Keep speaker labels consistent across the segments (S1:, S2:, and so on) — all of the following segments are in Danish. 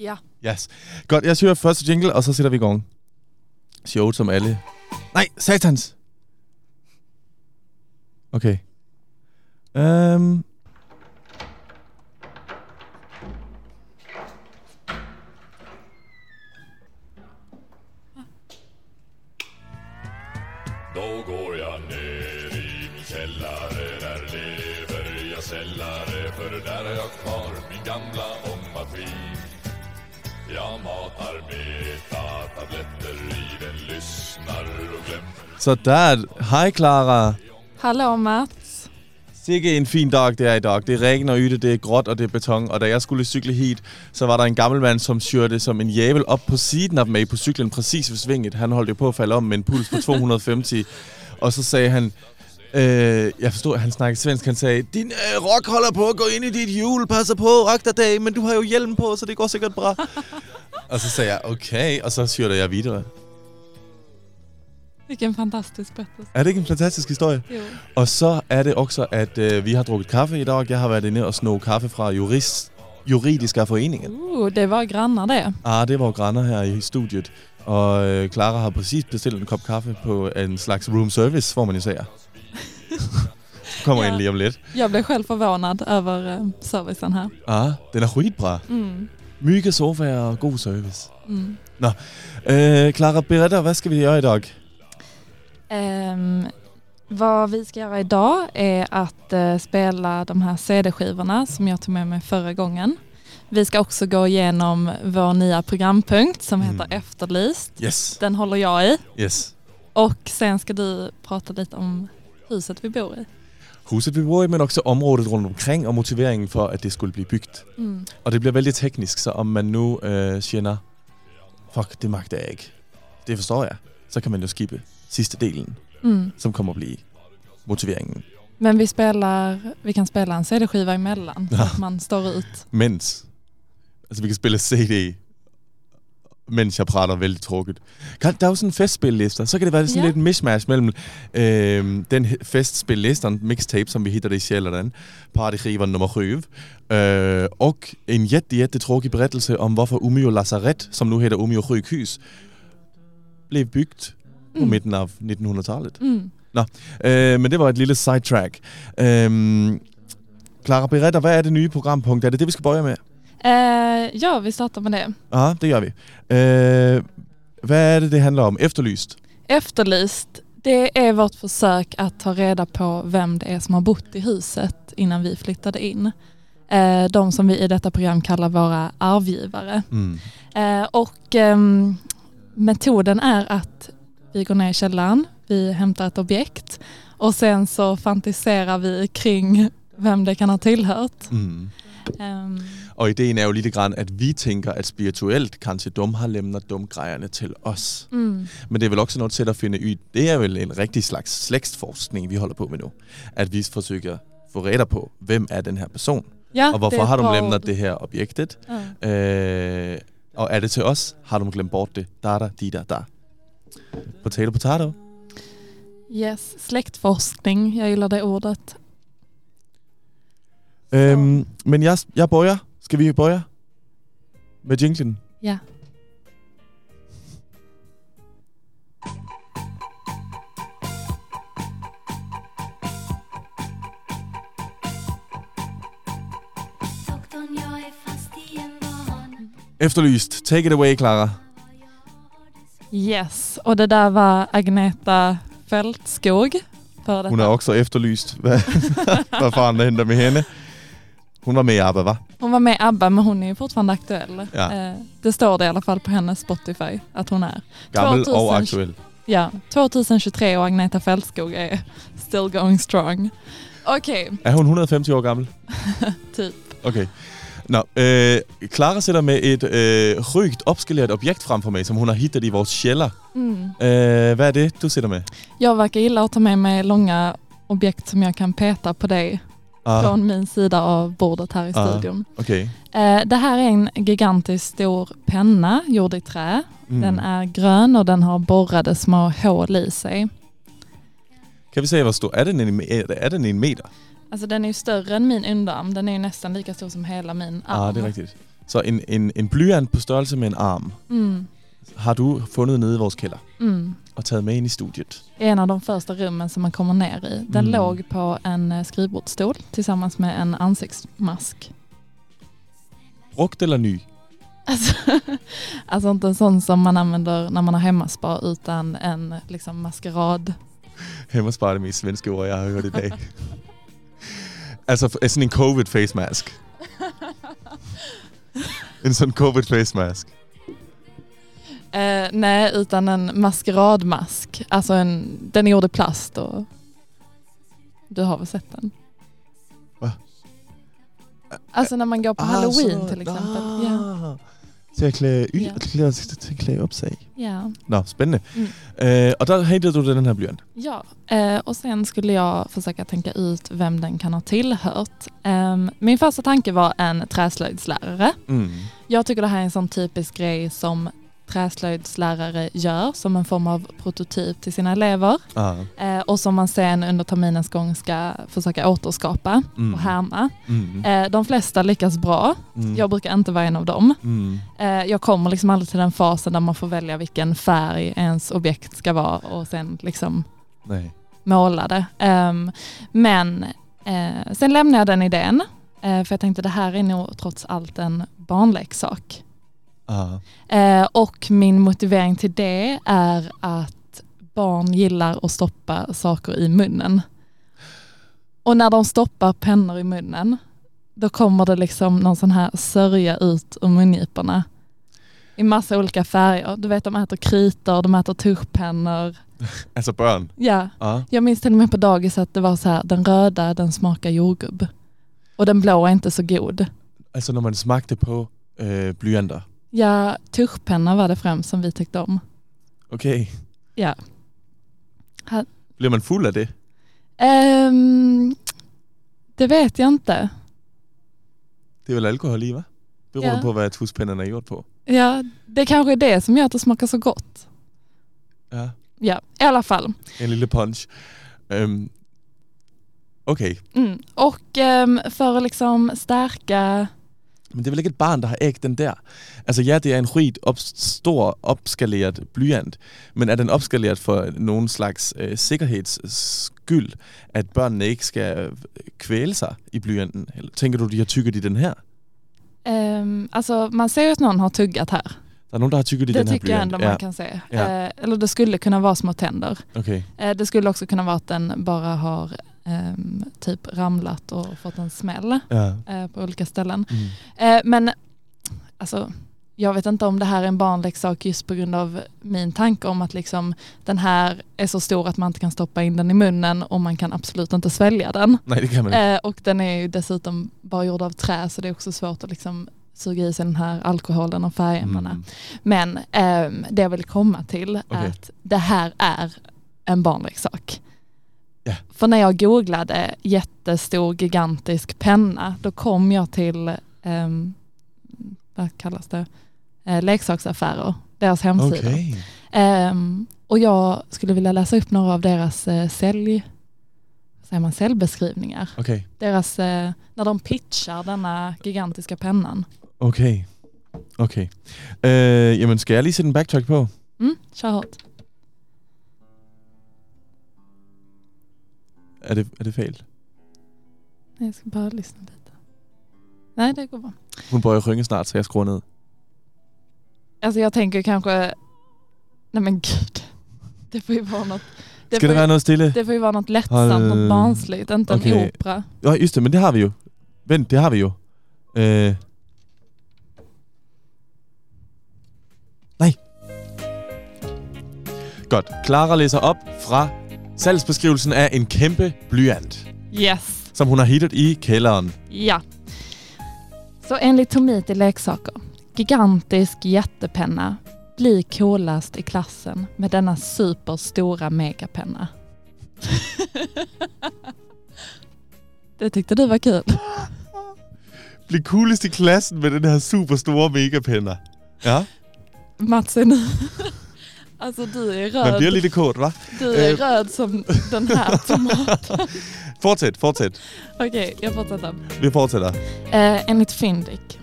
S1: Ja.
S2: Yes. Godt, jeg siger første jingle, og så sætter vi i gang. Showet som alle. Nej, satans! Okay. Um.
S3: Då går jag ner i min källare, där lever jag sällare, för där har jag kvar min gamla ångmaskin. Jag matar beta-tabletter i den, lyssnar och glömmer.
S2: Så der er... et- Hej, Clara.
S1: Hallo, Mats.
S2: Sikke en fin dag, det er i dag. Det regner og yde, det er gråt og det er beton. Og da jeg skulle cykle hit, så var der en gammel mand, som syrte som en jævel op på siden af mig på cyklen, præcis ved svinget. Han holdt jo på at falde om med en puls på 250. og så sagde han, øh, jeg forstod, at han snakkede svensk, han sagde, din øh, rock holder på at gå ind i dit hjul, passer på, rock dig dag, men du har jo hjelm på, så det går sikkert bra. og så sagde jeg, okay, og så syrte jeg videre.
S1: Vilken fantastisk berättelse.
S2: Er det ikke en fantastisk historie?
S1: Jo.
S2: Og så er det også, at øh, vi har drukket kaffe i dag. Jeg har været inde og snog kaffe fra jurist, juridiske foreningen.
S1: Oh, det var grannar det.
S2: Ah, det var jo granner her i studiet. Og øh, Clara har præcis bestilt en kop kaffe på en slags room service, hvor man jo siger. Kommer
S1: Ja.
S2: ja. ind lige om lidt.
S1: Jag blev själv förvånad över eh, servicen här.
S2: Ah, den er skitbra.
S1: Mm.
S2: Myge sofaer og god service.
S1: Mm.
S2: Nå, øh, Clara, berätta, hvad skal vi gøre i dag?
S1: Ehm, vad vi ska göra idag är att eh, spela de här CD-skivorna som jag tog med mig förra gången. Vi ska också gå igenom vår nya programpunkt som heter
S2: Mm.
S1: Efterlyst.
S2: Yes,
S1: Den håller jag i.
S2: yes.
S1: Och sen ska du prata lite om huset vi bor i.
S2: Huset vi bor i, men også området rundt omkring og motiveringen for, at det skulle blive byggt.
S1: Mm.
S2: Og det bliver vældig teknisk, så om man nu øh, siger, "Nå, fuck, det magter jeg ikke. Det forstår jeg. Så kan man jo skippe sidste delen,
S1: Mm.
S2: som kommer at blive motiveringen.
S1: Men vi, spelar, vi kan spela en CD-skiva emellan så
S2: Ja.
S1: att man står ut.
S2: Mens, altså vi kan spille CD, mens jeg prater vældig trukket. Kan- Der er jo sådan en festspillelister, så kan det være sådan
S1: Ja.
S2: ja. lidt en mishmash mellem øh, den he- festspillelisteren, mixtape, som vi hitter det i Sjælland, partyskriveren nummer 7, øh, og en jette, jette trukket berettelse om, hvorfor Umeå Lazaret, som nu hedder Umeå Sjukhus, blev byggt på
S1: Mm.
S2: midten af 1900-tallet.
S1: Mm.
S2: Øh, men det var et lille sidetrack. Øh, Clara Beretta, hvad er det nye programpunkt? Er det det, vi skal bøje med?
S1: Eh, ja, vi startar med det.
S2: Ja, det gør vi. Øh, hvad er det, det handler om? Efterlyst.
S1: Efterlyst, det är vårt försök att ta reda på vem det är som har bott i huset innan vi flyttade in. Eh, de som vi i detta program kallar våra arvgivare.
S2: Mm.
S1: Eh, och ehm, metoden är att vi går ner i källaren, vi hämtar ett objekt och sen så fantiserar vi kring vem det kan ha tillhört.
S2: Mm.
S1: Ehm,
S2: Og ideen er jo lidt grann, at vi tænker, at spirituelt kanskje dum har lemnet dumgrejerne til os.
S1: mm.
S2: Men det er vel også noget til at finde ud. Det er vel en rigtig slags slægtsforskning, vi holder på med nu. At vi forsøger at få redder på, hvem er den her person?
S1: Ja,
S2: Og
S1: Ah, det
S2: hvorfor
S1: är
S2: har
S1: ett bra
S2: de
S1: ord.
S2: lemnet det her objektet?
S1: Ja.
S2: Øh, og er det til os? Har du glemt bort det? Da da, di da da. Potato, potato.
S1: Yes, släktforskning, jag gillar det ordet.
S2: Øhm, men jeg, jeg bøjer. Skal vi bøjer? Med jinglen.
S1: Ja.
S4: Doktorn, jag
S5: e
S4: är fast i en van
S2: Efterlyst. Take it away, Clara.
S1: Yes, och det där var Agneta Fältskog. För detta.
S2: Hun er også efterlyst. Hvad, hvad fanden henter med hende? Hun var med i ABBA, hva'?
S1: Hon var med i ABBA men hon är ju fortfarande aktuell.
S2: Ja.
S1: Eh, det står det i alla fall på hennes Spotify att hon är.
S2: Gammel
S1: 2000.
S2: og aktuel.
S1: Ja, 2023 och Agneta Fältskog är still going strong. Okej,
S2: Er hun 150 år gammel?
S1: Typ.
S2: Okay. Nå, øh, Clara sætter med et øh, rygt opskaleret objekt frem for mig, som hun har hittet i vores sjæller.
S1: mm.
S2: Øh, hvad er det, du sætter med?
S1: jag verkar gilla att ta med mig långa objekt som jag kan peta på dig
S2: Ah,
S1: från min sida av bordet här i
S2: Ah.
S1: studion.
S2: okay.
S1: Eh, det här är en gigantisk stor penna gjord i trä.
S2: Mm.
S1: Den er grön och den har borrade små hål i sig.
S2: Kan vi se, hvor stor er den? En, er, er den en meter?
S1: Alltså den är ju större än min underarm. Den är ju nästan lika stor som hela min
S2: Ja,
S1: arm.
S2: ah, det er rigtigt. Så en, en, en blyant på størrelse med en arm
S1: Mm,
S2: har du fundet nede i vores kælder
S1: mm.
S2: og taget med ind i studiet.
S1: En af de första rummen som man kommer ner i. Den
S2: Mm.
S1: låg på en eh, skrivbordsstol tillsammans med en ansiktsmask.
S2: Brugt eller ny?
S1: Alltså, alltså inte en sån som man använder när man har hemmaspa utan en liksom maskerad.
S2: Hemmersparet er det mest svenske ord, jeg har hørt i dag. altså f- sådan en covid face mask. En sådan covid face mask.
S1: Ah, Eh, nej, utan en maskeradmask. Alltså en, den är gjord i plast och du har väl sett den?
S2: Va?
S1: Alltså när man går på Ah, halloween till exempel. Ja.
S2: Ah. Til at klæde, y-
S1: Ja.
S2: klæde, til at klæde opsag.
S1: ja.
S2: Nå, spændende. Mm.
S1: Mm.
S2: Øh, och där hittade du den här blyant.
S1: Ja, eh, och sen skulle jag försöka tänka ut vem den kan ha tillhört. Ehm, Min första tanke var en träslöjdslärare.
S2: Mm.
S1: Jag tycker det här är en sån typisk grej som träslöjdslärare gör som en form av prototyp till sina elever
S2: Ah.
S1: eh, och som man sen under terminens gång ska försöka återskapa
S2: Mm.
S1: och härma.
S2: Mm.
S1: Eh, De flesta lyckas bra.
S2: Mm.
S1: Jag brukar inte vara en av dem.
S2: Mm.
S1: Eh, Jag kommer liksom aldrig till den fasen där man får välja vilken färg ens objekt ska vara och sen liksom
S2: Nej.
S1: målade. Ehm, men eh, sen lämnade jag den idén, eh, för jag tänkte det här är nog trots allt en barnleksak.
S2: Ah.
S1: Eh, och min motivering till det är att barn gillar att stoppa saker i munnen. Och när de stoppar pennor i munnen, då kommer det liksom någon sån här sörja ut ur mungiporna. I massa olika färger. Du vet de äter kritor, de äter tuschpennor.
S2: Alltså Altså børn.
S1: Ja,
S2: Ah.
S1: jag minns till och med på dagis att det var så här, den röda den smakar jordgubb. Och den blå är inte så god.
S2: Altså når man smagte på øh, blyanter.
S1: Ja, tuschpenna var det främst som vi tyckte om.
S2: Okay.
S1: Ja. Ha-
S2: Bliver man fuld af det?
S1: Ehm, det vet jag inte.
S2: Det er vel alkohol i, hva'? Beror
S1: Ja.
S2: det på, hvad tuspænderne er gjort på?
S1: Ja, det kanske är det som gör att det smakar så gott.
S2: Ja.
S1: Ja, i alla fall.
S2: En lille punch. Øhm. Okay.
S1: Mm. Och ehm, för att liksom stärka...
S2: Men det er vel ikke et barn, der har æg den der? Altså ja, det er en rigt, op- stor, opskaleret blyant, men er den opskaleret for nogen slags øh, sikkerheds skyld, at børnene ikke skal øh, kvæle sig i blyanten? Eller tænker du, de har tykket i den her?
S1: Um, alltså man ser ju att någon har tuggat här.
S2: Der er nogen, der har tykket i
S1: Det
S2: den her
S1: tycker jag
S2: blyant.
S1: ändå man
S2: ja,
S1: kan se.
S2: Ja.
S1: Eh, eller det skulle kunna vara små tänder.
S2: okay.
S1: Eh, Det skulle också kunna vara att den bara har ehm, typ ramlat och fått en smäll
S2: Ja.
S1: eh, på olika ställen.
S2: Mm.
S1: Eh, men alltså, jag vet inte om det här är en barnleksak just på grund av min tanke om att liksom, den här är så stor att man inte kan stoppa in den i munnen och man kan absolut inte svälja den.
S2: Nej, det kan man ikke.
S1: Eh, och den är ju dessutom bara gjord av trä så det är också svårt att liksom suga i sig den här alkoholen och färgämnena.
S2: Mm.
S1: Men ehm, det jag vill komma till
S2: Okej.
S1: är att det här är en barnleksak.
S2: Ja.
S1: För när jag googlade jättestor gigantisk penna då kom jag till, ehm, vad kallas det, eh, leksaksaffärer, deras hemsidor.
S2: Okay.
S1: Ehm, och jag skulle vilja läsa upp några av deras eh, sälj, vad säger man, säljbeskrivningar.
S2: okay,
S1: Deras, eh, när de pitchar denna gigantiska pennan.
S2: okay, okay. Øh, jamen, skal jeg lige sætte en backtrack på?
S1: Mm, kör hårt.
S2: Er det, er det fejl?
S1: Nej, jag ska bara lyssna lite. Nej, det går bra.
S2: Hun bøjer rynge snart, så jeg skruer ned.
S1: Alltså jag tänker kanske, nej men gud, det får ju vara något, det,
S2: Skal
S1: får,
S2: det
S1: ju,
S2: være noget stille?
S1: det får ju vara något lättsamt,
S2: Har-
S1: något barnsligt, inte en
S2: Okej.
S1: opera.
S2: Nå, just det, men det har vi jo. Vent, det har vi jo. Øh. Nej. Godt. Clara læser op fra salgsbeskrivelsen af en kæmpe blyant,
S1: Yes.
S2: som hun har hittet i kælderen.
S1: Ja. Så enligt Tomit i leksaker, gigantisk jättepenna, bli coolast i klassen med denna superstora megapenna. Det tyckte du var kul.
S2: Bliv coolest i klassen med den her super store megapender. Ja,
S1: Mats är nu... Alltså Altså, du är
S2: man bliver
S1: röd,
S2: lidt kort, hva'?
S1: du är
S2: eh.
S1: röd som den här tomaten.
S2: Fortsæt, fortsæt.
S1: Okej, jag fortsätter.
S2: Vi fortsætter.
S1: Eh, enligt Fyndik.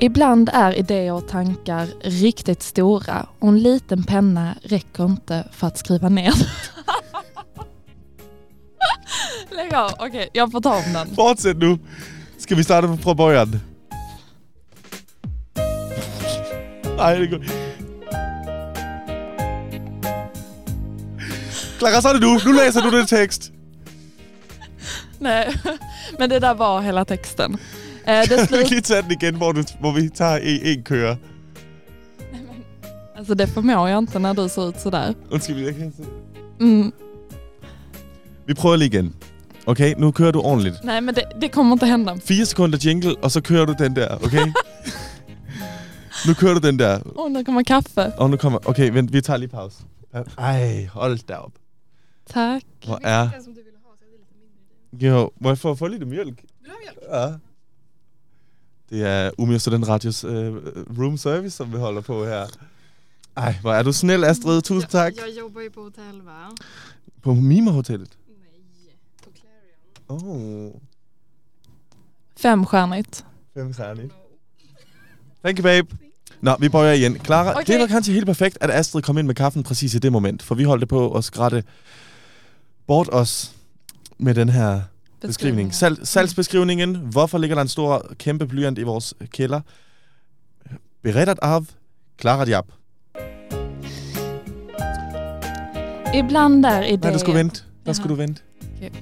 S1: Ibland är idéer och tankar riktigt stora och en liten penna räcker inte för att skriva ner. Lägg av, okej jag får ta om den.
S2: Fortsæt nu. Skal vi starte fra bøjeren? Nej, det går... Clara, så er det nu. Nu læser du den tekst.
S1: Nej, men det där var hela texten. Eh, Det,
S2: Vi kan
S1: slut...
S2: lige tage den igen, hvor, du, hvor vi tager E- en, en kører.
S1: alltså, altså, det förmår jag inte när du ser ut sådär.
S2: Undskyld, jeg kan ikke se.
S1: Mm.
S2: Vi prøver lige igen. Okay, nu kører du ordentligt.
S1: Nej men det, det kommer inte hända.
S2: Fire sekunder jingle, og så kører du den der, okay? nu kører du den der.
S1: Åh, nu kommer kaffe.
S2: Og nu kommer... Okay, vent, vi tager lige pause. Ej, hold da op.
S1: Tack.
S2: Hvor er...
S6: som du ville ha så jag hade lite mindre.
S2: Jo, må jeg få, få lidt mjølk?
S6: Vill du ha mjölk?
S2: Ja. Det er Umeå Student Radios øh, room service, som vi holder på her. Ej, hvor er du snäll, Astrid. Tusind tak.
S6: Jag, jag jobbar ju på hotell va?
S2: På Mima Hotellet.
S6: Nej, på
S2: Åh,
S6: Clarion.
S2: oh,
S1: Femstjärnigt.
S2: fem særligt. Thank you, babe. Nå, vi bøjer igen. Clara, okay.
S1: Okay.
S2: det var kanskje helt perfekt, at Astrid kom ind med kaffen præcis i det moment, for vi holdt det på at skrætte bort os med den her beskrivning. Sal- salgsbeskrivningen. Hvorfor ligger der en stor, kæmpe blyant i vores kælder? Berettet af Clara Diab.
S1: Ibland är idéer...
S2: Nej, du skulle vente. Der skulle du
S1: Jaha.
S2: vente.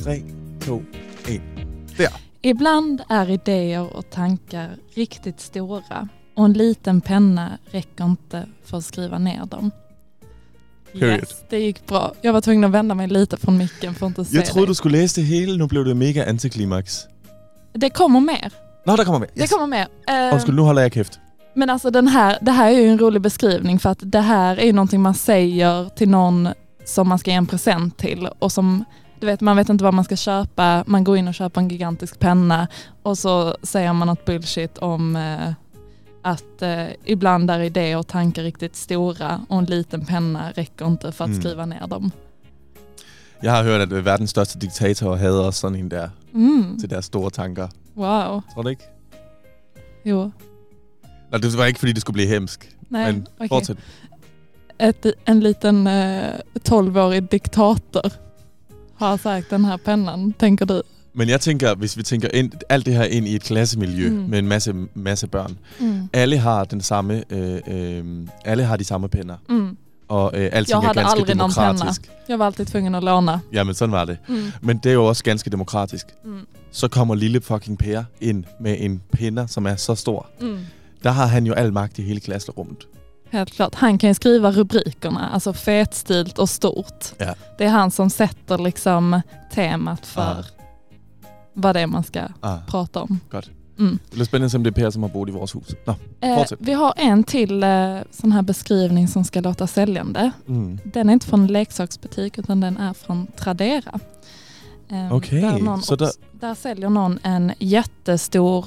S1: Okay.
S2: 3, 2,
S1: Ibland är idéer och tankar riktigt stora och en liten penna räcker inte för att skriva ner dem.
S2: Period.
S1: Yes, det gick bra. Jag var tvungen att vända mig lite från micken för att inte se
S2: Jeg troede,
S1: dig.
S2: du skulle læse det hele. Nu blev det mega antiklimaks.
S1: Det kommer mer.
S2: Nå, der kommer mere.
S1: Det kommer mer. Eh,
S2: Undskyld, nu holder jeg kæft.
S1: men alltså den här, det här är ju en rolig beskrivning för att det här är ju någonting man säger till någon som man ska ge en present till och som du vet, man vet inte vad man ska köpa. Man går in och köper en gigantisk penna och så säger man något bullshit om eh, att eh, ibland är idéer och tankar riktigt stora och en liten penna räcker inte för att
S2: Mm.
S1: skriva ner dem.
S2: Jeg har hørt, at øh, verdens største diktator havde også sådan en der
S1: Mm.
S2: til deres store tanker.
S1: Wow.
S2: Tror du ikke?
S1: Jo.
S2: Nå, det var ikke, fordi det skulle blive hemsk.
S1: Nej,
S2: Men
S1: okej.
S2: fortsæt.
S1: Ett, en liten eh, 12-årig diktator har sagt den här pennan, tänker du?
S2: Men jeg tænker, hvis vi tænker ind, alt det her ind i et klassemiljø mm.
S1: Mm.
S2: med en masse, masse børn. Alle har den samme, øh, øh, alle har de samme penner.
S1: Mm.
S2: Og øh, alting er
S1: havde
S2: ganske
S1: aldrig nogen penner.
S2: demokratisk.
S1: Jag var alltid tvungen att låna.
S2: Jamen, sådan var det.
S1: Mm.
S2: Men det er jo også ganske demokratisk.
S1: Mm.
S2: Så kommer lille fucking Per ind med en penner, som er så stor.
S1: Mm.
S2: Der har han jo al magt i hele klasserummet.
S1: Helt klart. Han kan ju skriva rubrikerna, alltså fetstilt och stort.
S2: Ja.
S1: Det är han som sätter liksom temat för
S2: Ah.
S1: vad det är man ska
S2: Ah,
S1: prata om.
S2: det bliver spændende, som det er Per, som har boet i vores hus. Nå.
S1: Eh,
S2: Fortsätt.
S1: vi har en till eh, sån här beskrivning som ska låta säljande.
S2: Mm.
S1: Den är inte från en leksaksbutik utan den är från Tradera. Eh,
S2: Okej,
S1: där, någon
S2: så där-
S1: också- där säljer någon en jättestor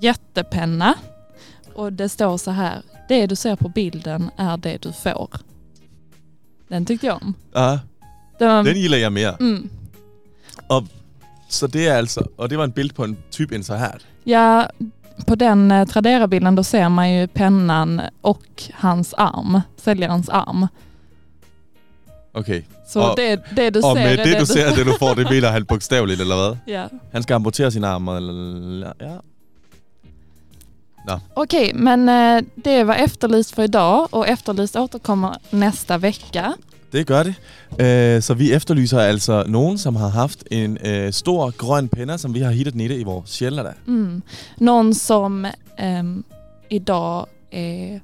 S1: jättepenna. Och det står så här. Det du ser på bilden är det du får. Den tyckte jag om.
S2: Ah,
S1: Den var,
S2: den gilder jeg mere.
S1: mm,
S2: Så det er altså... Og det var en bild på en type insert.
S1: ja, på den eh, Tradera-bilden då ser man ju pennan och hans arm. Säljarens arm.
S2: Okay.
S1: Så
S2: Och-
S1: det, det du
S2: Og
S1: ser
S2: med
S1: är
S2: det, det, du ser, det du får, det mener han bogstaveligt, eller hvad?
S1: Ja.
S2: Han skal amputere sin arm, eller... Ja.
S1: Okej, men eh, det var Efterlyst för idag och Efterlyst återkommer nästa vecka.
S2: Det gør det. Øh, så vi efterlyser altså nogen, som har haft en øh, stor grøn penner, som vi har hittet nede i vores sjælder der.
S1: Mm. Någon som ehm, idag är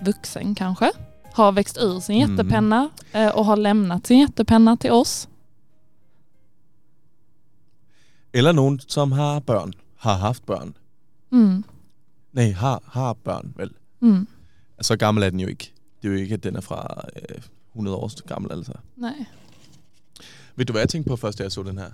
S1: vuxen kanske, har växt ur sin
S2: Mm.
S1: jättepenna eh, och har lämnat sin jättepenna till oss.
S2: Eller nogen, som har børn. Har haft børn.
S1: Mm.
S2: Nej, har, har børn, vel.
S1: Mm.
S2: Så gammel er den jo ikke. Det er jo ikke, at den er fra øh, 100 år gammel, altså.
S1: Nej.
S2: Ved du, hvad jeg tænkte på først, da jeg så den her?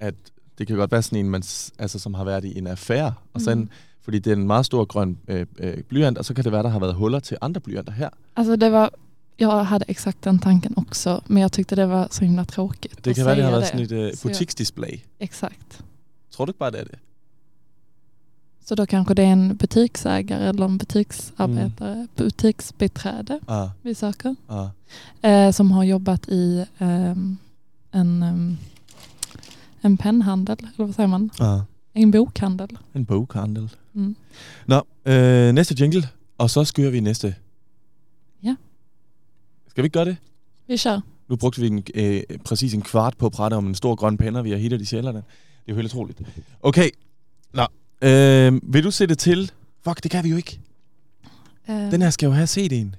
S2: At det kan godt være sådan en, man, s- altså, som har været i en affære. Og sen,
S1: Mm.
S2: Fordi det er en meget stor grøn øh, øh, blyant, och så kan det være, der har været huller til andre blyanter her.
S1: Alltså det var, jag hade exakt den tanken också, men jag tyckte det var så himla tråkigt
S2: Det
S1: att
S2: kan være, det har
S1: säga
S2: været sådan et øh,
S1: Så jeg-
S2: butiksdisplay.
S1: Exakt.
S2: Tror du ikke bare, det er det?
S1: Så då kanske det är en butiksägare eller en butiksarbetare,
S2: Mm.
S1: butiksbiträde
S2: Ah,
S1: vi söker.
S2: ah.
S1: Eh, som har jobbat i ehm, en, ehm, en pennhandel, eller vad säger man?
S2: Ah.
S1: En bokhandel.
S2: En boghandel.
S1: Mm.
S2: Nå, øh, næste jingle, og så skører vi næste.
S1: Ja.
S2: Skal vi ikke gøre det?
S1: Vi kör.
S2: Nu brugte vi en, øh, præcis en kvart på at prate om en stor grøn penner, vi har hittet i sjælderne. Det er jo helt utroligt. Okay, nå. Øh, vil du se det til? Fuck, det kan vi jo ikke.
S1: Eh,
S2: Den her skal jo have CD'en.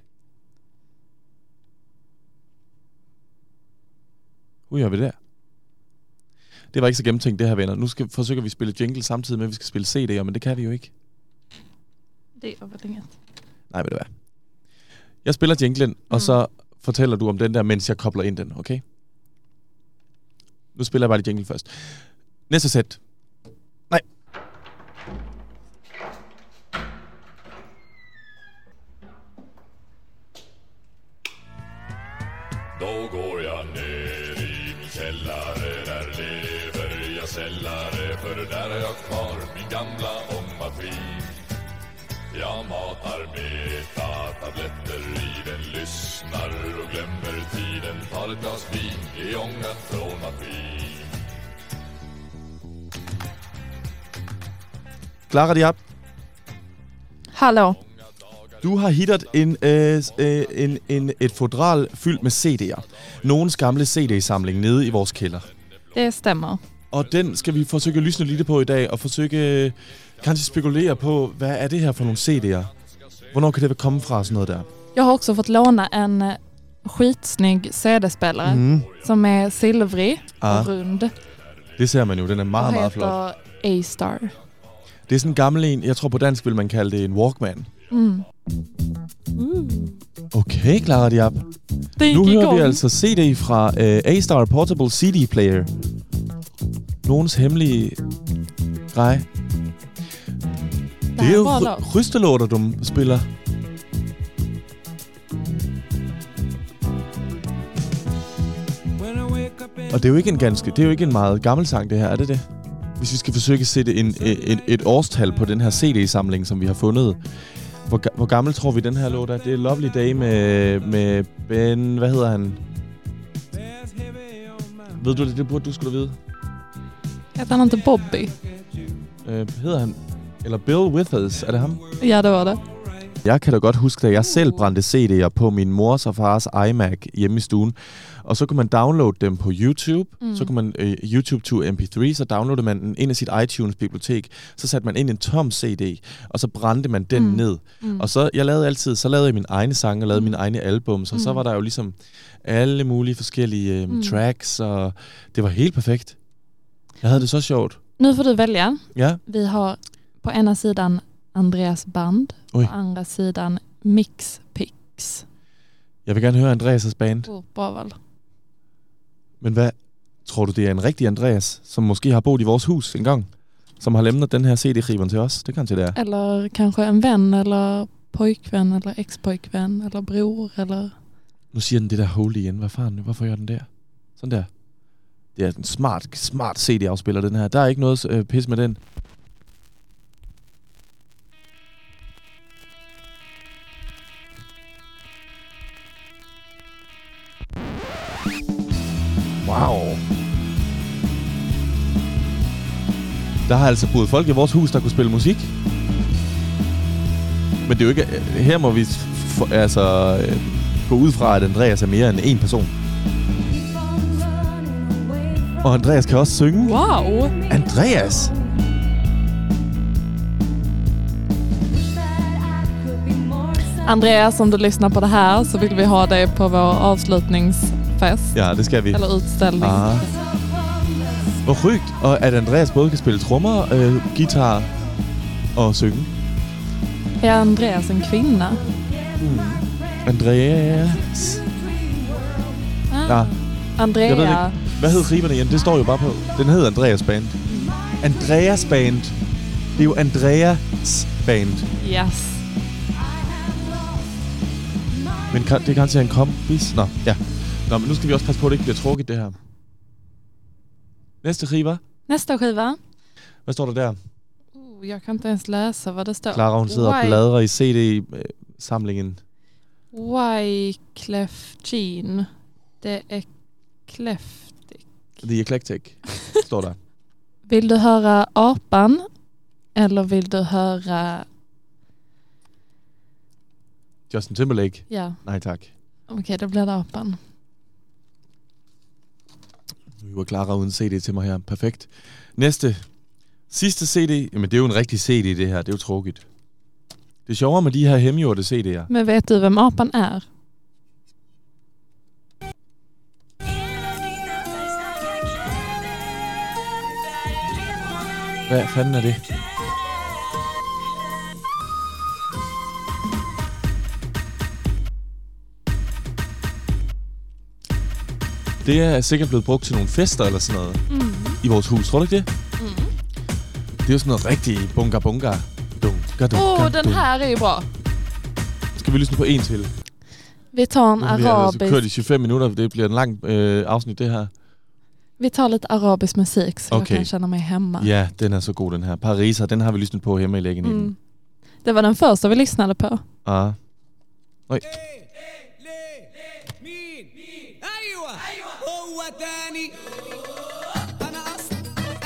S2: Hur gör vi det? Det var ikke så gennemtænkt det her, venner. Nu skal, forsøger vi at spille jingle samtidig med, at vi skal spille CD'er, men det kan vi jo ikke.
S1: Det gör väl inget.
S2: Nej, ved du hvad? Jeg spiller jinglen, mm. og så fortæller du om den der, mens jeg kobler ind den, okay? Nu spiller jeg bare det jingle først. Næste sæt. Nej.
S3: Då går jag ner i min källare Där lever jag sällare För där har jag kvar min gamla ångmaskin Jag matar beta-tabletter i den Lyssnar och glömmer tiden Tar ett glas vin i ångat från maskin
S2: Clara Diab,
S1: Hallå.
S2: du har hittet en, øh, s- øh, en, en, et fodral fyldt med CD'er. Nogens gamle CD-samling nede i vores kælder.
S1: Det stämmer.
S2: Og den skal vi forsøge at lysne lidt på i dag, og forsøge øh, kanskje spekulere på, hvad er det her for nogle CD'er? Hvornår kan det komme fra, sådan noget der?
S1: Jag har också fått låna en eh, skitsnygg CD-spelare
S2: Mm.
S1: som är silvrig
S2: Ah.
S1: och rund.
S2: Det ser man jo, den er
S1: Och
S2: meget, meget flot.
S1: heter A-Star.
S2: Det er sådan en gammel en. Jeg tror på dansk vil man kalde det en Walkman.
S1: Mm.
S2: Okay, Clara Diab.
S1: Det gick
S2: Nu hører
S1: igång.
S2: vi altså CD fra øh, A-Star Portable CD Player. Nogens hemmelige grej.
S1: Det
S2: Det
S1: här
S2: er jo
S1: bra
S2: ry-
S1: lag.
S2: rystelåter, du spiller. Og det er jo ikke en ganske, det er jo ikke en meget gammel sang, det her, er det det? Hvis vi skal forsøge at sætte en, et, et årstal på den her CD-samling, som vi har fundet. Hvor, ga- hvor gammel tror vi, den her låt er? Det er Lovely Day med, med Ben... Hvad hedder han? Ved du det? Det burde du skulle vide.
S1: Heter han inte Bobby?
S2: Øh, hedder han... Eller Bill Withers, er det ham?
S1: Ja, det var det.
S2: Jeg kan da godt huske, da jeg selv brændte CD'er på min mors og fars iMac hjemme i stuen. Og så kunne man downloade dem på YouTube. Mm. Så kunne man øh, YouTube to MP3, så downloadede man den ind i sit iTunes-bibliotek. Så satte man ind i en tom CD, og så brændte man den mm. ned. Mm. Og så, jeg lavede altid, så lavede jeg mine egne sange, og lavede mine egne album. Så, mm. så var der jo ligesom alle mulige forskellige øh, mm. tracks, og det var helt perfekt. Jeg havde det så sjovt.
S1: Nu får du välja.
S2: Ja,
S1: Vi har på ena sidan Andreas band,
S2: Oj.
S1: på andra sidan Mixpix.
S2: jeg vil gerne høre Andreas' band.
S1: Oh, bra val.
S2: Men hvad tror du, det er en rigtig Andreas, som måske har boet i vores hus engang? Som har læmnet den her CD-skriveren til os? Det kan det er.
S1: Eller kanske en vän eller pojkvän eller expojkvän eller bror eller...
S2: Nu siger den det der hole igen. Hvad fanden? Hvorfor gør den der? Sådan der. Det er en smart, smart CD-afspiller, den her. Der er ikke noget øh, pis med den. Wow. Der har altså boet folk i vores hus, der kunne spille musik. Men det er jo ikke... øh, Her må vi f- altså, øh, gå ud fra, at Andreas er mere end én person. Og Andreas kan også synge.
S1: Wow!
S2: Andreas!
S1: Andreas, om du lyssnar på det här så vill vi ha dig på vår avslutningsfest.
S2: Ja, det skal vi.
S1: Eller utställning.
S2: Ah. Hvor sygt, og at Andreas både kan spille trommer, øh, guitar og synge.
S1: Är Andreas en kvinna?
S2: Andreas...
S1: Ah.
S2: Ja,
S1: Andrea.
S2: jeg ved det ikke. Hvad hed riberne igen? Det står jo bare på. Den hedder Andreas Band. Andreas Band. Det er jo Andreas Band.
S1: Yes.
S2: Men kan, det er garanteret en kompis. Nå, ja. Nå, men nu skal vi også passe på, at det ikke bliver trukket, det her. Næste river.
S1: Nästa skiva.
S2: Hvad står der der?
S1: Oh, Oh, jeg kan inte ens läsa vad det står.
S2: Clara, hun sidder og
S1: Why-
S2: bladrer i øh, CD-samlingen.
S1: Wyclef Jean. Det är kläftigt.
S2: The Eclectic, står der.
S1: Vill du höra apan eller vill du höra...
S2: Justin Timberlake.
S1: Ja,
S2: Nej tak.
S1: okej då blir det apan.
S2: Nu var Clara uden CD til mig her. Perfekt. Næste. Sidste CD. Jamen, det er jo en rigtig CD, det her. Det er jo trukket. Det sjovere med de her hemgjorte CD'er.
S1: Men vet du vem apan är?
S2: Hvad fanden er det? Det er sikkert blevet brugt til nogle fester eller sådan noget mm.
S1: Mhm.
S2: i vores hus, tror du ikke det? Mm. Det er jo sådan noget rigtig bunga bunga. Dunga, dunga,
S1: Åh, oh, den
S2: dunga.
S1: här är ju bra.
S2: Skal vi lytte på en til?
S1: Vi tar en
S2: Vi har altså kørt i
S1: arabisk...
S2: 25 minutter, det bliver en lang øh, afsnit det her.
S1: Vi tar lite arabisk musik så jag
S2: Okej.
S1: kan känna mig hemma.
S2: Ja, den er så god den her. Pariser, den har vi lyttet på hjemme i lægenheden.
S1: Mm. Det var den första vi lyssnade på.
S2: Ah.
S5: ليه مين ايوه ايوه هو تاني انا اصلا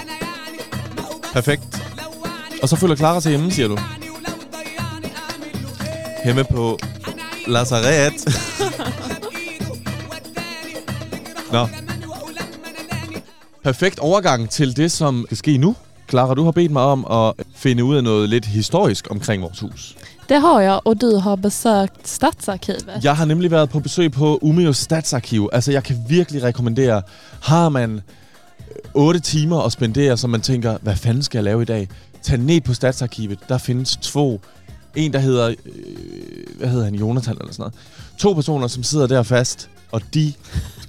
S5: انا يعني ما هو بس
S2: Perfekt.
S5: لوعني
S2: Og så følger Clara sig hjemme, siger du.
S5: يعني ولو ضيعني اعمل له ايه
S2: Hjemme på
S5: هنعيد
S2: Lazaret.
S5: خد ايده وداني بجرحه
S2: Nå.
S5: ولماني ولما ناداني
S2: Perfekt overgang til det, som skal ske nu. Clara, du har bedt mig om at finde ud af noget lidt historisk omkring vores hus.
S1: Det har jag och du har besökt Stadsarkivet.
S2: Jeg har nemlig været på besøg på Umeå Statsarkiv. Altså, jeg kan virkelig rekommendere, har man 8 timer at spendere, så man tænker, hvad fanden skal jeg lave i dag? Tag ned på Statsarkivet. Der findes to. En, der hedder, øh, hvad hedder han, Jonathan eller sådan noget. To personer, som sidder der fast, og de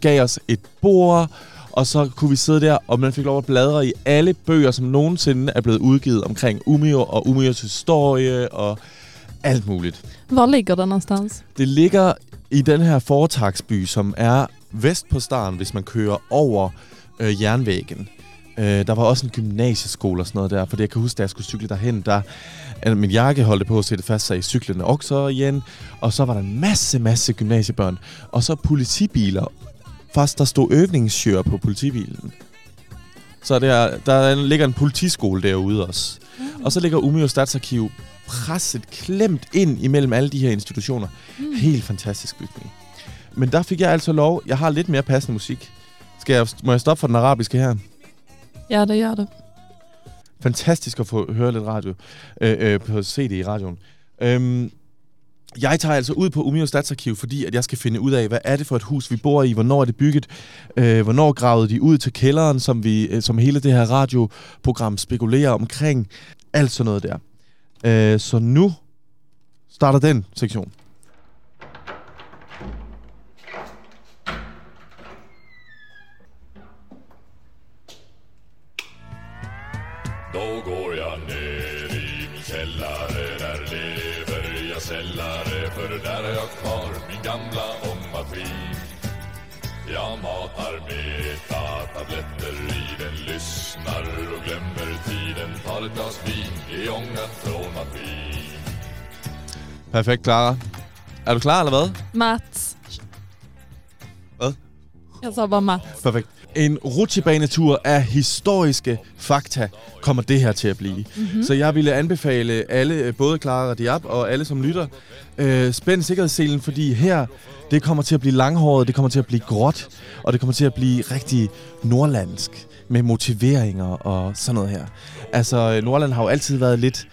S2: gav os et bord, og så kunne vi sidde der, og man fik lov at bladre i alle bøger, som nogensinde er blevet udgivet omkring Umeå og Umeås historie og alt muligt.
S1: Var ligger det någonstans?
S2: Det ligger i den her foretagsby, som er vest på Staren, hvis man kører over øh, jernvæggen. Øh, der var også en gymnasieskole og sådan noget der, for jeg kan huske, da jeg skulle cykle derhen, der øh, min jakke holdt på at sætte fast sig i cyklen og så igen. Og så var der en masse, masse gymnasiebørn. Og så politibiler. Fast der stod øvningssjøer på politibilen. Så der, der ligger en politiskole derude også. Og så ligger Umeå Statsarkiv presset, klemt ind imellem alle de her institutioner. Mm. Helt fantastisk bygning. Men der fik jeg altså lov. Jeg har lidt mere passende musik. Skal jeg, må jeg stoppe for den arabiske her?
S1: Ja, det gör du.
S2: Fantastisk at få høre lidt radio øh, øh, på CD i radioen. Øhm, jeg tager altså ud på Umeå Statsarkiv, fordi at jeg skal finde ud af, hvad er det for et hus, vi bor i, hvornår er det bygget, øh, hvornår gravede de ud til kælderen, som, vi, øh, som hele det her radioprogram spekulerer omkring, alt sådan noget der. Øh, så nu starter den sektion.
S3: Då går jag ner i min källare Där lever jag sällare För där har jag kvar min gamla ångmaskin Jag matar beta-tabletter i den Lyssnar och glömmer tiden Tar ett glas vin i ångan från maskin
S2: Perfekt, Clara. Er du klar, eller hvad?
S1: Mats.
S2: Hvad?
S1: Jag sa bara Mats.
S2: Perfekt. En rutsjebanetur af historiske fakta kommer det her til at blive. Mm-hmm. Så jeg ville anbefale alle, øh, både Clara og Diab og alle som lytter, øh, spænd sikkerhedsselen, fordi her, det kommer til at blive langhåret, det kommer til at blive gråt, og det kommer til at blive rigtig nordlandsk med motiveringer og sådan noget her. Altså, øh, Nordland har jo altid været lidt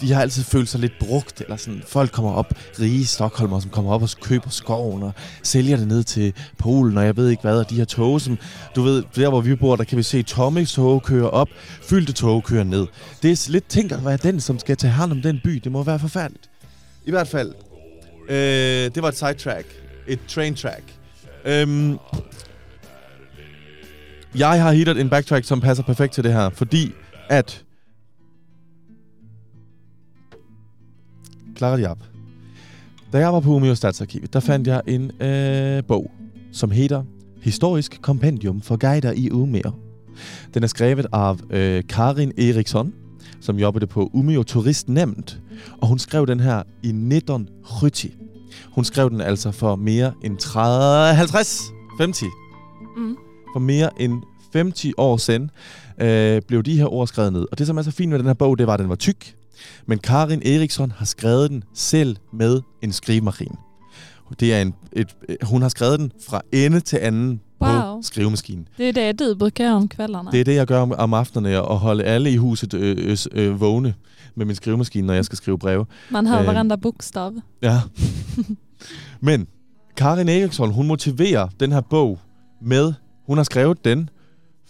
S2: de har altid følt sig lidt brugt, eller sådan, folk kommer op, rige Stockholmer, som kommer op og køber skoven og sælger det ned til Polen, og jeg ved ikke hvad, og de her tog, som, du ved, der hvor vi bor, der kan vi se tomme tog køre op, fyldte tog køre ned. Det er lidt, tænk at være den, som skal tage hånd om den by, det må være forfærdeligt. I hvert fald, øh, det var et sidetrack, et train track. Øhm, jeg har hittet en backtrack, som passer perfekt til det her, fordi at Clara Diab. Da jeg var på Umeå Statsarkivet, der fandt jeg en øh, bog, som hedder Historisk kompendium for guider i Umeå. Den er skrevet af øh, Karin Eriksson, som jobbede på Umeå Turist Nemt. Og hun skrev den her i 1970. Hun skrev den altså for mere end 30, 50, 50,
S1: Mm.
S2: for mere end 50 år siden, øh, blev de her ord skrevet ned. Og det, som er så fint med den her bog, det var, at den var tyk. Men Karin Eriksson har skrevet den selv med en skrivemaskine. Det er en, et, øh, hun har skrevet den fra ende til anden på
S1: Wow.
S2: skrivemaskinen.
S1: Det er det, du brukar göra om kvällarna.
S2: Det er det, jeg gør om, om aftenerne, og holde alle i huset øh, øh, øh, vågne med min skrivemaskine, når jeg skal skrive breve.
S1: Man hör
S2: eh,
S1: varenda bokstav.
S2: Ja. Men Karin Eriksson, hun motiverer den her bog med, hun har skrevet den,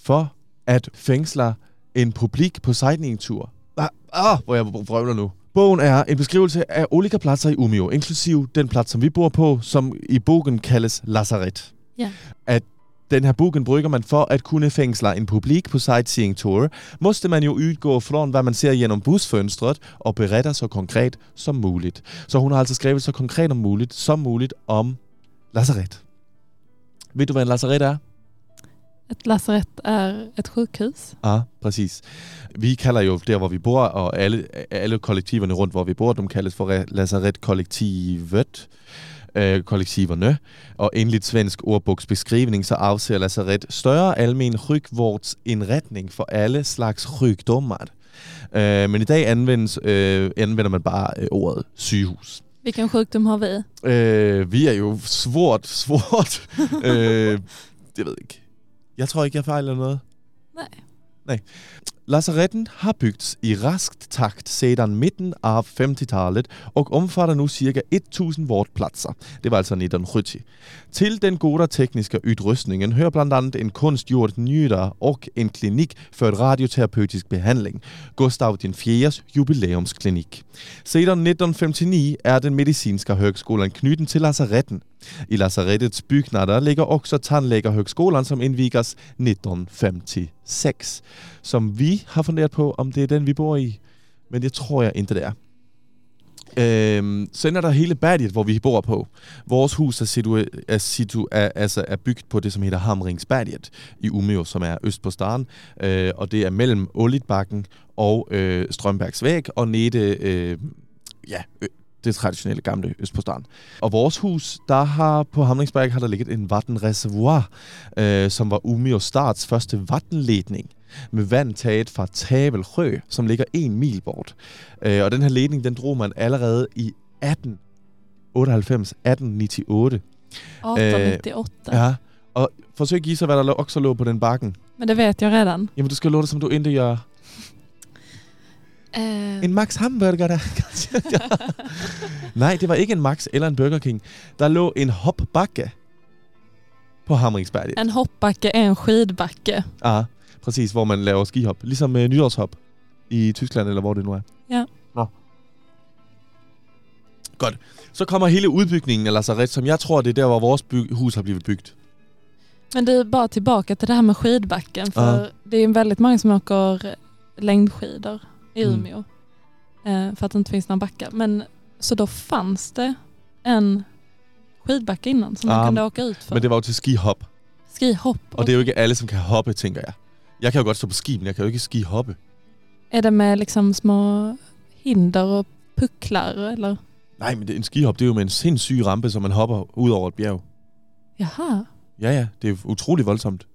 S2: for at fængsler en publik på sightseeingtur. Ah, ah, hvor jeg vrøvler nu. Bogen er en beskrivelse af olika pladser i Umeå, inklusiv den plads, som vi bor på, som i bogen kaldes Lazaret.
S1: Ja.
S2: At den her bogen brygger man for at kunne fængsle en publik på sightseeing tour, måste man jo udgå fra, hvad man ser gennem busfønstret og beretter så konkret som muligt. Så hun har altså skrevet så konkret om muligt som muligt om lazaret. Ved du, hvad en lazaret er?
S1: Ett lasarett är ett sjukhus.
S2: Ja, præcis. Vi kalder jo der, hvor vi bor, og alle, alle kollektiverne rundt, hvor vi bor, de kaldes for re- lazaretkollektivet, øh, kollektiverne. Og enligt svensk ordbogs beskrivning, så afser lazaret større almen sjukvårdsindretning for alle slags sygdommer. Øh, men i dag anvendes, øh, anvender man bare øh, ordet sygehus.
S1: Vilken sjukdom har vi?
S2: Øh, vi er jo svort, svort. øh, det ved jeg ikke. Jeg tror ikke, jeg fejler noget.
S1: Nej.
S2: Nej. Lazaretten har byggts i raskt takt siden midten af 50-tallet og omfatter nu ca. 1000 vårdpladser. Det var altså 1970. Til den gode tekniske utrustningen hører blandt andet en kunstgjort nyder og en klinik for et radioterapeutisk behandling, Gustav den 4. jubilæumsklinik. Siden 1959 er den medicinske høgskolan knytten til lazaretten. I lazarettets bygnader ligger også tandlægerhögskolan som indvigas 1956, som vi har funderet på, om det er den, vi bor i. Men det tror jeg ikke, det er. Øhm, så ender der hele badget, hvor vi bor på. Vores hus er, situ, er, situ, er, altså er bygget på det, som hedder Hamringsberget i Umeå, som er øst på Staren. Øh, og det er mellem Olitbakken og øh, Strømbergsvæg og nede øh, ja, øh, det traditionelle gamle øst på Staren. Og vores hus, der har på Hamringsberg har der ligget en vattenreservoir, øh, som var Umeå Starts første vattenledning med vand taget fra Tavelsjø, som ligger en mil bort. Øh, og den her ledning, den drog man allerede i 1898, 1898.
S1: 1898.
S2: Ja. Og forsøg at give sig, hvad der også lå på den bakken.
S1: Men det vet jag redan.
S2: Jamen, du skal låne det, som du ikke gør.
S1: Eh,
S2: En Max Hamburger, der... Nej, det var ikke en Max eller en Burger King. Der lå en hopbakke på Hamringsberget.
S1: en hoppbacke är en skidbacke.
S2: Ja, præcis, hvor man laver skihop. Ligesom øh, nytårshop i Tyskland, eller hvor det nu er.
S1: Ja.
S2: Nå. Godt. Så kommer hele udbygningen af Lazaret, som jeg tror, det er der, hvor vores byg- hus har blevet bygget.
S1: Men du, bara tillbaka till det här med skidbacken. För det är ju väldigt många som åker längdskidor i
S2: Mm.
S1: Umeå. Eh, för att det inte finns någon backa. Men så då fanns det en skidbacke innan som
S2: Ja,
S1: man kunde åka ut för.
S2: Men det var jo til skihop,
S1: Skihopp.
S2: og det er jo ikke alle, som kan hoppe, tænker jeg. Jeg kan jo godt stå på ski, men jeg kan jo ikke skihoppe.
S1: Är det med liksom små hinder och pucklar eller?
S2: Nej, men det, en skihop, det er jo med en sindssyg rampe, som man hopper ud over et bjerg.
S1: Jaha,
S2: Ja, ja, det er utrolig voldsomt.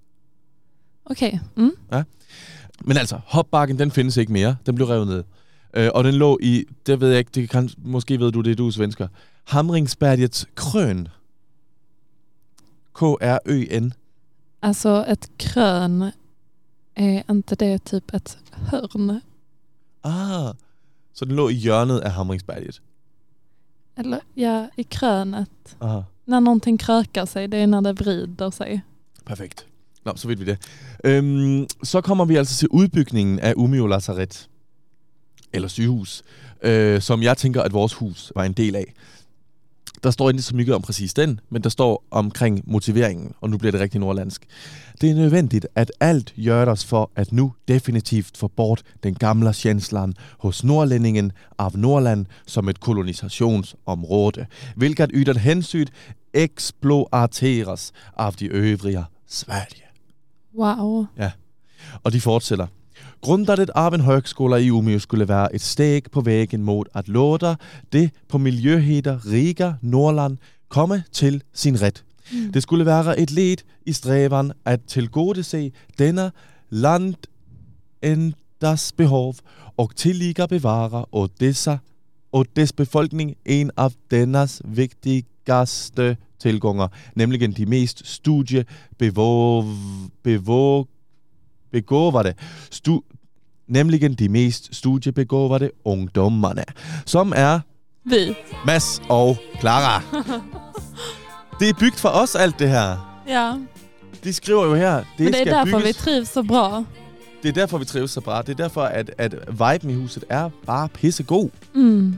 S1: okej. Mm.
S2: Men altså, hopbakken, den findes ikke mere. Den blev revet ned. Øh, og den lå i, det ved jeg ikke, det kan, måske ved du det, du er svensker. Hamringsbergets Krøn. K-R-Ø-N.
S1: Alltså ett krön, eh, är inte det typ ett hörn?
S2: Ah, så den lå i hjørnet af Hamringsberget.
S1: Eller ja, i krönet.
S2: Ah,
S1: När någonting krökar sig, det är när det vrider sig.
S2: perfekt. Nå, så ved vi det. Øhm, så kommer vi altså til udbygningen af Umeå Lazaret. Eller sygehus. Øh, som jeg tænker, at vores hus var en del af. Der står ikke så mye om præcis den, men der står omkring motiveringen, og nu bliver det rigtig nordlandsk. Det er nødvendigt, at alt gøres for, at nu definitivt få bort den gamle tjenslan hos nordlændingen af Nordland som et kolonisationsområde, hvilket yder hensyn eksploateres af de øvrige Sverige.
S1: Wow.
S2: Og de fortsætter. Grundandet av en högskola i Umeå skulle vara ett steg på vägen mot att låta det på miljöheter rika Norrland komma till sin rätt. Det skulle vara ett led i strävan att tillgodose denna landändas behov och tillika bevara åt, dessa, åt dess befolkning en av dennas viktigaste tillgångar, nämligen de mest studiebevåg... bevåg begåvade, stu, nämligen de mest studiebegåvade ungdomarna, som är
S1: Vi.
S2: Mads og Clara. Det er bygget for os alt det her.
S1: Ja,
S2: De skriver jo her, det,
S1: men det är
S2: skal
S1: därför vi
S2: bygges.
S1: trivs så bra.
S2: det er derfor, vi trives så bra. Det er derfor, at, at viben i huset er bare pissegod.
S1: Mm.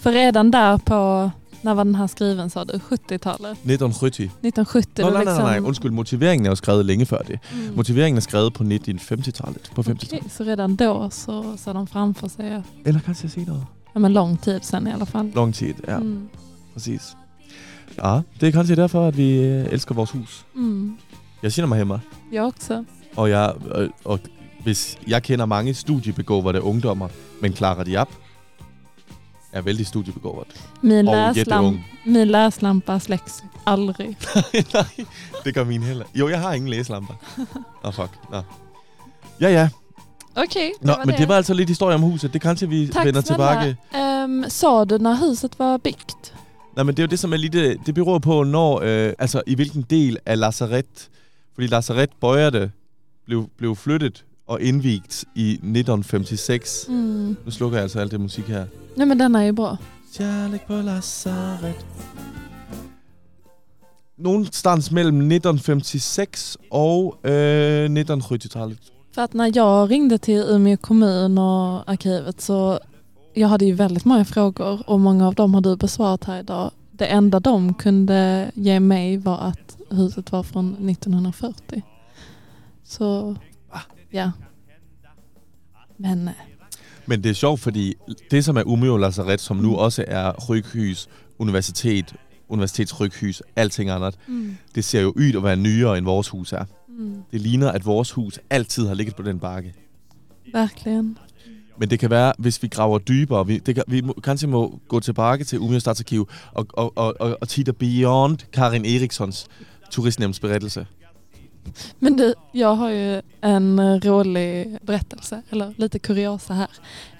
S1: För redan där på, när var den här skriven sa du? 70-talet?
S2: 1970.
S1: 1970?
S2: Nå,
S1: då
S2: nej, nej, nej,
S1: liksom-
S2: undskyld. Motiveringen er jo skrevet længe før det.
S1: Mm.
S2: Motiveringen er skrevet på 1950-tallet. På 50-tallet.
S1: Okej, så redan då så såg de framför sig, att-
S2: Eller kanskje senere.
S1: ja, men lång tid sedan i alla fall.
S2: Long tid, ja. Mm.
S1: Mm.
S2: Præcis. Ja, det er kanskje derfor, at vi øh, elsker vores hus.
S1: Mm.
S2: Jeg kender mig hjemme.
S1: Jag också.
S2: Og, jeg, og, og hvis jeg kender mange studiebegåvede ungdommer, men Clara Diab er vældig studiebegåvet.
S1: Min,
S2: Og
S1: läslamp-
S2: jætteung.
S1: min läslampa släcks aldrig.
S2: Nej, det gør min heller. Jo, jeg har ingen læslamper. Nå, fuck. Nå. Ja, ja.
S1: Okej,
S2: Nå, men det var altså lidt historie om huset. Det kanskje vi
S1: Tack
S2: vender
S1: snälla.
S2: tilbage.
S1: Ehm, sa du när huset var byggt?
S2: Nej, men det er jo det, som er lidt... øh, Det beror på, når... Øh, altså, i hvilken del af Lazaret... Fordi Lazaret Bøjerde blev, blev flyttet og indvigt i 1956.
S1: Mm.
S2: Nu slukker jeg altså alt det musik her.
S1: Nej men den är ju bra.
S2: Kærlighed på lazaret. Någonstans mellem 1956 og øh, 1970-tallet.
S1: För att när jag ringde till Umeå kommun och arkivet så jag hade ju väldigt många frågor och många av dem har du besvarat här idag. Det enda de kunde ge mig var att huset var från 1940. Så ja. Men eh,
S2: Men det er sjovt, fordi det, som er Umeå Lazaret, som nu også er ryghus, universitet, universitetsryghus, alting andet,
S1: mm,
S2: det ser jo ydt at være nyere, end vores hus er.
S1: mm,
S2: Det ligner, at vores hus altid har ligget på den bakke.
S1: verkligen.
S2: Men det kan være, hvis vi graver dybere, vi, det kan, vi må, kanskje må gå tilbage til Umeå Statsarkiv og, og, og, og, og titte beyond Karin Erikssons turistnævnsberettelse.
S1: Men du, jag har ju en eh, rolig berättelse, eller lite kuriosa här.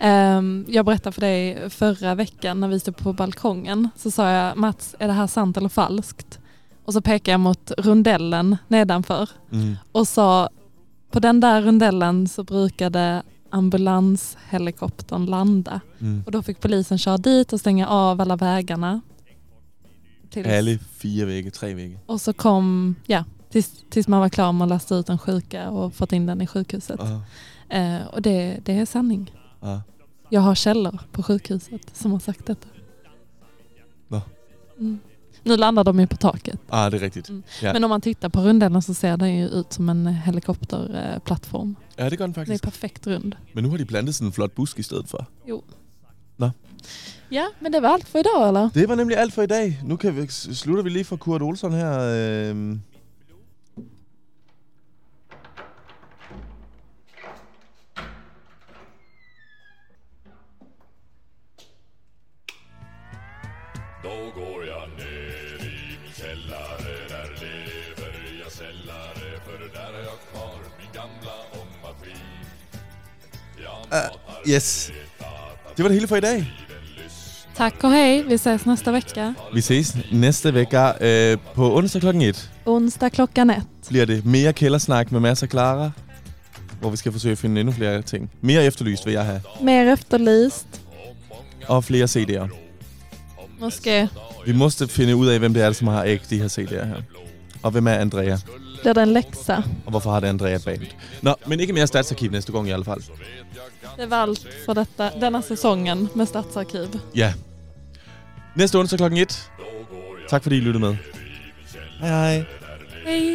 S1: Ehm, jag berättade för dig förra veckan när vi stod på balkongen så sa jag Mats, är det här sant eller falskt? Och så pekade jag mot rundellen nedanför
S2: Mm.
S1: och sa på den där rundellen så brukade ambulanshelikoptern landa
S2: Mm.
S1: och då fick polisen köra dit och stänga av alla vägarna. Tills-
S2: Alle fire vægge, tre vægge.
S1: och så kom, ja, tills, tills man var klar med att lasta ut den sjuka och fått in den i sjukhuset.
S2: Ah,
S1: Eh, och det, det är sanning.
S2: ah.
S1: Jag har källor på sjukhuset som har sagt detta.
S2: Va?
S1: Mm. Nu landar de ju på taket.
S2: ah, det er rigtigt.
S1: Mm.
S2: Ja.
S1: Men om man tittar på rundellen så ser den ju ut som en helikopterplattform.
S2: Ja, det gør den
S1: Den är
S2: faktisk.
S1: perfekt rund.
S2: Men nu har de plantet sådan en flot busk i stedet for.
S1: Ja, men det var allt för idag eller?
S2: Det var nemlig alt for i dag. Nu kan vi, slutter vi lige for Kurt Olsson her. Øh...
S3: Då går jag ner i källare Där lever jag sällare För där har jag kvar min gamla ångmaskin Jag matar
S2: Yes. Det var det hele for i dag.
S1: Tack och hej, vi ses nästa vecka.
S2: Vi ses næste vecka øh, på onsdag klokken 1.
S1: Onsdag klockan ett.
S2: bliver det mere kældersnak med Mads og Clara, hvor vi skal forsøge at finde endnu flere ting. Mere efterlyst vil jeg have,
S1: Mer efterlyst.
S2: og flere CD'er.
S1: Måske
S2: Vi måste finde ud af, hvem det er, som har ægt de her CD'er her. Og hvem er Andrea?
S1: blir det en läxa.
S2: Og hvorfor har det Andrea et band? Nå, men ikke mere statsarkiv næste gang i hvert fald.
S1: Det var allt för detta, denna säsongen med Stadsarkiv.
S2: Ja. Næste onsdag klokken 1. Tak fordi I lyttede med. Hej hej.
S1: Hej!